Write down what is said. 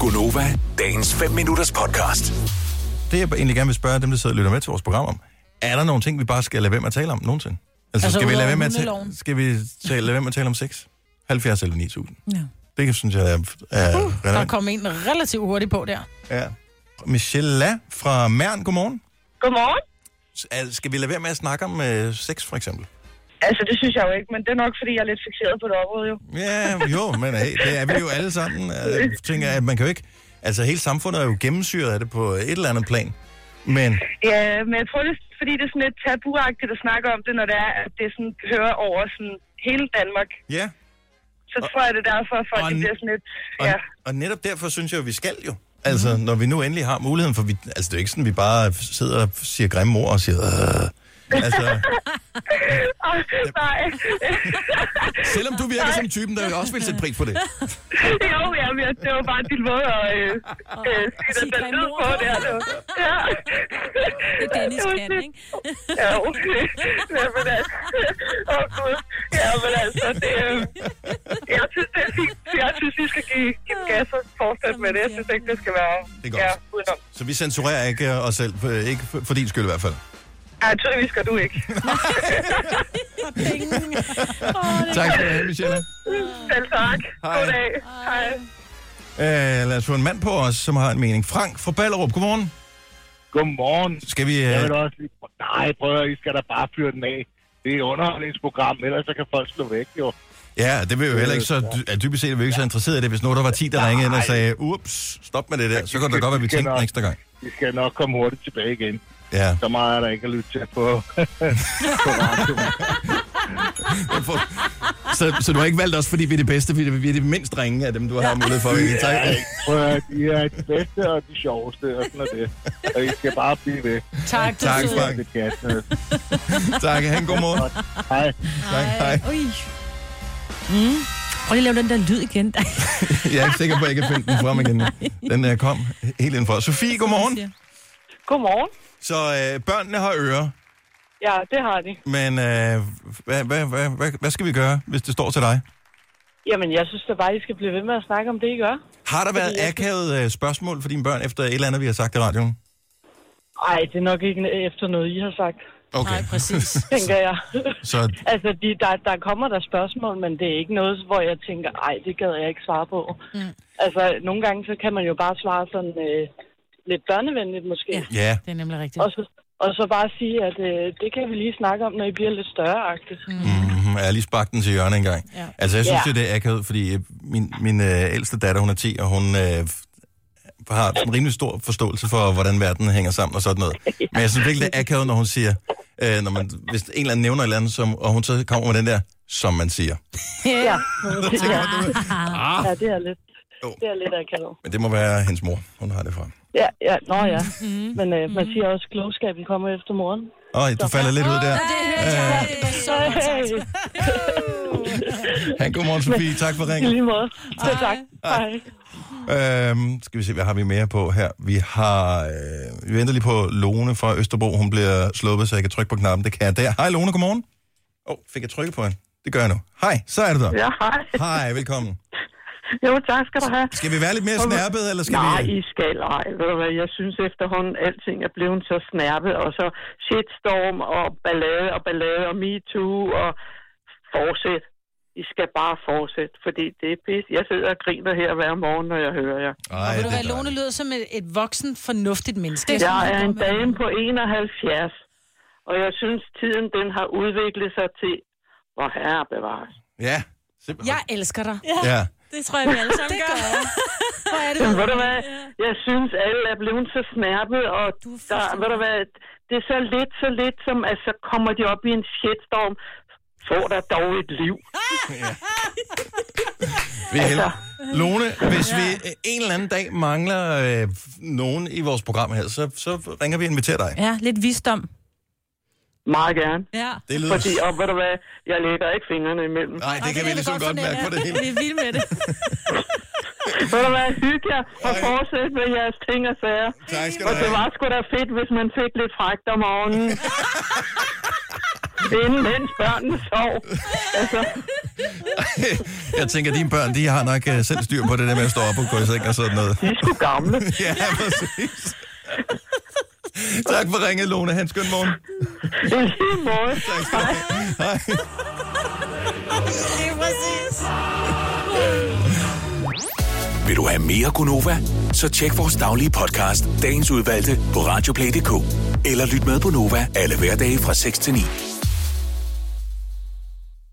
Gunova, dagens 5 minutters podcast. Det jeg egentlig gerne vil spørge dem, der sidder og lytter med til vores program om, er der nogle ting, vi bare skal lade være med at tale om nogensinde? Altså, Altså, skal, vi udover lade være med at hundeloven? tale, skal vi tale, lade være med at tale om sex? 70 eller 9000. Ja. Det kan- synes jeg er, er uh, Der relevant. kom en relativt hurtigt på der. Ja. Michelle La fra Mern, godmorgen. Godmorgen. S- al- Skal vi lade være med at snakke om øh, sex, for eksempel? Altså, det synes jeg jo ikke, men det er nok, fordi jeg er lidt fixeret på det område, jo. Ja, jo, men hey, det er vi jo alle sammen. Øh, Jeg tænker, at man kan jo ikke... Altså, hele samfundet er jo gennemsyret af det på et eller andet plan. Men Ja, men jeg tror, det er, fordi det er sådan lidt tabuagtigt at snakke om det, når det er, at det sådan hører over sådan hele Danmark. ja, Så tror jeg, det er derfor, at folk og- de bliver sådan lidt... og, Ja, og netop derfor synes jeg, at vi skal jo. Altså, mm-hmm. når vi nu endelig har muligheden, for vi, altså, det er jo ikke sådan, at vi bare sidder og siger grimme ord og siger... Øh. Altså, Åh, nej. selvom du virker som typen, der også vil sætte pris på det. jo, ja, men jeg- det var bare din måde at øh, øh, sige den Sige der grimme lyd ord. på, det er det jo. Ja. Det er Dennis var kan, sådan- ikke? Ja, okay. Ja, men altså... Åh, Gud. Ja, men altså, det... Øh, jeg synes, det er fint. Jeg synes, I skal give, give den gas og fortsætte med det. Jeg synes ikke, det skal være... Det er godt. Ja, udenom. Så vi censurerer ikke øh, os selv, øh, ikke for, for din skyld i hvert fald. Ja, tydeligvis skal du ikke. Tak skal du have, Michelle. Selv tak. Hej. God dag. Hej. Øh, lad os få en mand på os, som har en mening. Frank fra Ballerup, godmorgen. Godmorgen. Skal vi... Jeg Øh, vil også lige... Nej, prøv at høre, I skal da bare fyre den af. Det er et underholdningsprogram, ellers så kan folk slå væk, jo. ja, det vil jo heller ikke så... dy- er Dybest set er vi jo ikke så interesseret i det, hvis nu der var 10, der ringede ind og sagde, ups, stop med det der, så kan det godt være, vi tænker den ekstra gang. De skal nok komme hurtigt tilbage igen. Ja, Så meget er der ikke at lytte til på. så, så du har ikke valgt os, fordi vi er det bedste, fordi vi er det mindst ringe af dem, du har mulighed for. Ja, tak. Prøv at høre, de er de bedste og de sjoveste, og sådan er det. Og I skal bare blive ved. Tak, du Tak, søde. Frank. Det kan jeg. tak. Ha' en god morgen. Hej. Tak, hej. Ui. Mm. Prøv lige at lave den der lyd igen. Jeg er ikke sikker på, at jeg kan finde den frem igen. Den der kom helt indenfor. Sofie, godmorgen. Godmorgen. Så øh, børnene har ører, Ja, det har de. men øh, hvad, hvad, hvad, hvad, hvad skal vi gøre, hvis det står til dig? Jamen, jeg synes da bare, I skal blive ved med at snakke om det, I gør. Har der været akavet øh, spørgsmål for dine børn efter et eller andet, vi har sagt i radioen? Ej, det er nok ikke efter noget, I har sagt, Okay, Nej, præcis. tænker jeg. så altså, de, der, der kommer der spørgsmål, men det er ikke noget, hvor jeg tænker, ej, det gad jeg ikke svare på. Mm. Altså, nogle gange, så kan man jo bare svare sådan øh, lidt børnevenligt måske. Ja. Ja. ja. Det er nemlig rigtigt. Og, så, og så bare sige, at øh, det kan vi lige snakke om, når I bliver lidt større-agtigt. Mm. Mm-hmm. Jeg har lige sparket den til hjørne engang. Ja. Altså, jeg synes Ja. jo, det er akavet, fordi øh, min, min øh, ældste datter, hun er 10, og hun øh, har en rimelig stor forståelse for, hvordan verden hænger sammen og sådan noget. Men jeg synes virkelig, det er akavet, når hun siger, øh, når man, hvis en eller anden nævner et eller andet, som, og hun så kommer med den der, som man siger. Ja. ja. Ah. ja, det er lidt, Jo. det er lidt akavet. Men det må være hendes mor, hun har det fra. Ja, ja, nå ja. Men øh, man siger også, at klogskaben kommer efter morgen. Åh, du falder lidt ud der. Så, hey, Han, godmorgen, Sofie. Tak for i ringen. lige måde. Så tak. Hej. Øhm, skal vi se, hvad har vi mere på her? Vi har... Øh, vi venter lige på Lone fra Østerbro. Hun bliver sluppet, så jeg kan trykke på knappen. Det kan jeg der. Hej Lone, godmorgen. Åh, oh, fik jeg trykket på hende? Det gør jeg nu. Hej, så er det der. Ja, hej. Hej, velkommen. Jo, tak skal du have. Skal vi være lidt mere snærpet, eller skal Nej, vi... I skal ej. Ved du hvad, jeg synes efterhånden, alting er blevet så snærpet, og så shitstorm og ballade og ballade og MeToo og fortsæt. I skal bare fortsætte, fordi det er pis. Jeg sidder og griner her hver morgen, når jeg hører jer. Og Ej, ved du det hvad, er Lone dejligt. lyder som et, et voksen, fornuftigt menneske. Jeg er en dame på 71, og jeg synes, tiden den har udviklet sig til, hvor herre bevares. Ja, simpelthen. Jeg elsker dig. Ja. Det tror jeg, vi alle sammen gør. Hvor er det? Men ved du hvad, jeg synes, alle er blevet så snærpet, og Du er der, fuldstændig- ved du hvad, det er så lidt, så lidt, som at så kommer de op i en shitstorm. Få dig dog et liv. Vi Altså. er heldige. Lone, hvis vi øh, en eller anden dag mangler øh, nogen i vores program her, så, så ringer vi og inviterer dig. Ja, lidt visdom. Meget gerne. Ja. Det lyder... Fordi, og ved du hvad, jeg lægger ikke fingrene imellem. Nej, det kan vi ligesom godt mærke på det hele. Vi er vilde med det. Ved du hvad, hygge jer og Ej. fortsæt med jeres ting og sager. Tak skal Og du det have. var sgu da fedt, hvis man fik lidt fragt om morgenen. vinde, mens børnene sov. Altså, Jeg tænker, at dine børn, de har nok øh, selv styr på det der med at stå op og gå i seng og sådan noget. de er sgu gamle. Ja, præcis. tak for ringet, Lone. Hans, skøn morgen. I lige måde. Hej. Vil du have mere Gunova? Så tjek vores daglige podcast, dagens udvalgte, på radioplay.dk. Eller lyt med på Nova alle hverdage fra 6 til 9.